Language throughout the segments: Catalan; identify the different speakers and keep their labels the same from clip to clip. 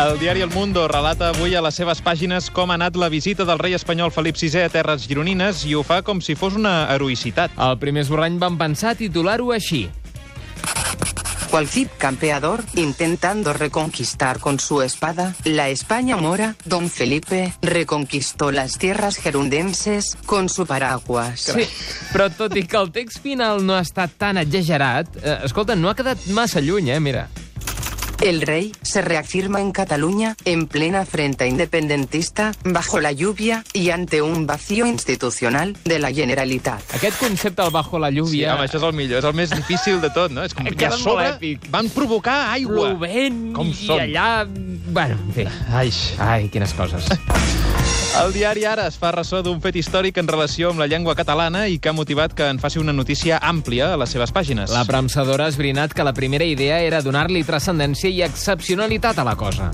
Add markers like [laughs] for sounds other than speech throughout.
Speaker 1: El diari El Mundo relata avui a les seves pàgines com ha anat la visita del rei espanyol Felip VI a Terres Gironines i ho fa com si fos una heroïcitat.
Speaker 2: Al primer esborrany van pensar titular-ho així.
Speaker 3: Cualquier campeador intentando reconquistar con su espada la España mora, don Felipe reconquistó las tierras gerundenses con su paraguas.
Speaker 2: Sí, però tot i que el text final no ha estat tan exagerat, eh, escolta, no ha quedat massa lluny, eh, mira.
Speaker 3: El rey se reafirma en Cataluña en plena frente independentista, bajo la lluvia y ante un vacío institucional de la Generalitat.
Speaker 2: Aquest concepte al bajo la
Speaker 1: Sí,
Speaker 2: lluvia...
Speaker 1: home, això és el millor, és el més difícil de tot, no? És [laughs] com que a
Speaker 2: Queda molt
Speaker 1: sobre
Speaker 2: èpic.
Speaker 1: van provocar aigua.
Speaker 2: plovent
Speaker 1: Com
Speaker 2: i
Speaker 1: són?
Speaker 2: allà... Bueno, en fi.
Speaker 1: Ai.
Speaker 2: Ai, quines coses.
Speaker 1: El diari Ara es fa ressò d'un fet històric en relació amb la llengua catalana i que ha motivat que en faci una notícia àmplia a les seves pàgines.
Speaker 2: La premsadora ha esbrinat que la primera idea era donar-li transcendència i excepcionalitat a la cosa.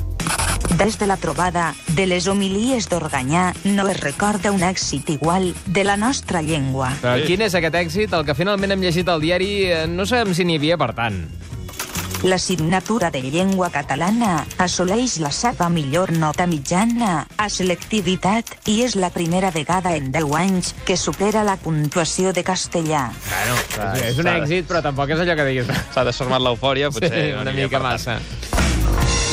Speaker 4: Des de la trobada de les homilies d'Organyà no es recorda un èxit igual de la nostra llengua.
Speaker 2: Però
Speaker 1: Sí.
Speaker 2: quin és aquest èxit? El que finalment hem llegit al diari eh, no sabem si n'hi havia per tant.
Speaker 4: L'assignatura de llengua catalana assoleix la seva millor nota mitjana a selectivitat i és la primera vegada en 10 anys que supera la puntuació de castellà.
Speaker 2: Bueno,
Speaker 1: Ah,
Speaker 2: és un
Speaker 1: s'ha de-
Speaker 2: èxit, però tampoc és allò que diguis.
Speaker 1: S'ha desformat l'eufòria, potser.
Speaker 2: Sí, una mica massa.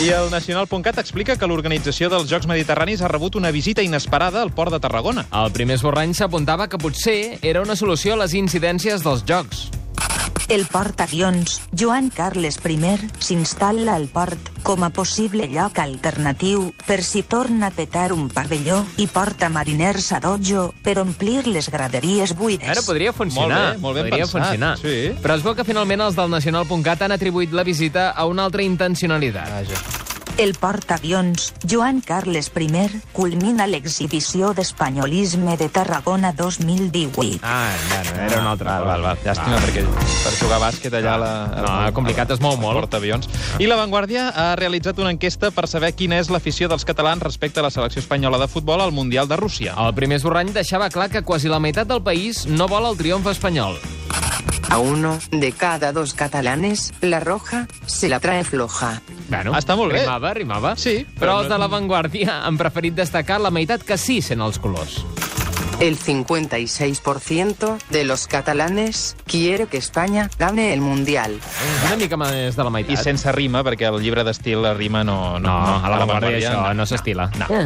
Speaker 1: I el Nacional.cat explica que l'organització dels Jocs Mediterranis ha rebut una visita inesperada al port de Tarragona.
Speaker 2: El primer esborrany s'apuntava que potser era una solució a les incidències dels jocs.
Speaker 4: El portaavions Joan Carles I s'instal·la al port com a possible lloc alternatiu per si torna a petar un pavelló i porta mariners a dojo per omplir les graderies buides.
Speaker 2: Ara podria
Speaker 1: Molt
Speaker 2: funcionar.
Speaker 1: bé, molt ben
Speaker 2: podria
Speaker 1: pensat,
Speaker 2: funcionar.
Speaker 1: sí.
Speaker 2: Però es veu que finalment els del Nacional.cat han atribuït la visita a una altra intencionalitat.
Speaker 1: Vaja.
Speaker 4: El portaavions Joan Carles I culmina l'exhibició d'espanyolisme de Tarragona 2018.
Speaker 2: Ah, bueno, era una altra.
Speaker 1: Val, val, val. Llàstima, perquè per jugar a bàsquet allà... a La, a
Speaker 2: Ah. No,
Speaker 1: la-
Speaker 2: complicat, es mou
Speaker 1: al
Speaker 2: molt.
Speaker 1: Portaavions. I La Vanguardia ha realitzat una enquesta per saber quina és l'afició dels catalans respecte a la selecció espanyola de futbol al Mundial de Rússia.
Speaker 2: El primer esborrany deixava clar que quasi la meitat del país no vol el triomf espanyol.
Speaker 3: A uno de cada dos catalanes, la roja se la trae floja.
Speaker 2: Bueno,
Speaker 1: Està molt bé.
Speaker 2: Rimava, rimava.
Speaker 1: Sí,
Speaker 2: però,
Speaker 1: però
Speaker 2: els
Speaker 1: no-
Speaker 2: de La Vanguardia han preferit destacar la meitat que sí sent els colors.
Speaker 3: El 56% de los catalanes quiere que España gane el Mundial.
Speaker 2: Una mica més de la meitat.
Speaker 1: I sense rima, perquè el llibre d'estil la rima no...
Speaker 2: No, a La
Speaker 1: a
Speaker 2: Vanguardia això no s'estila. No.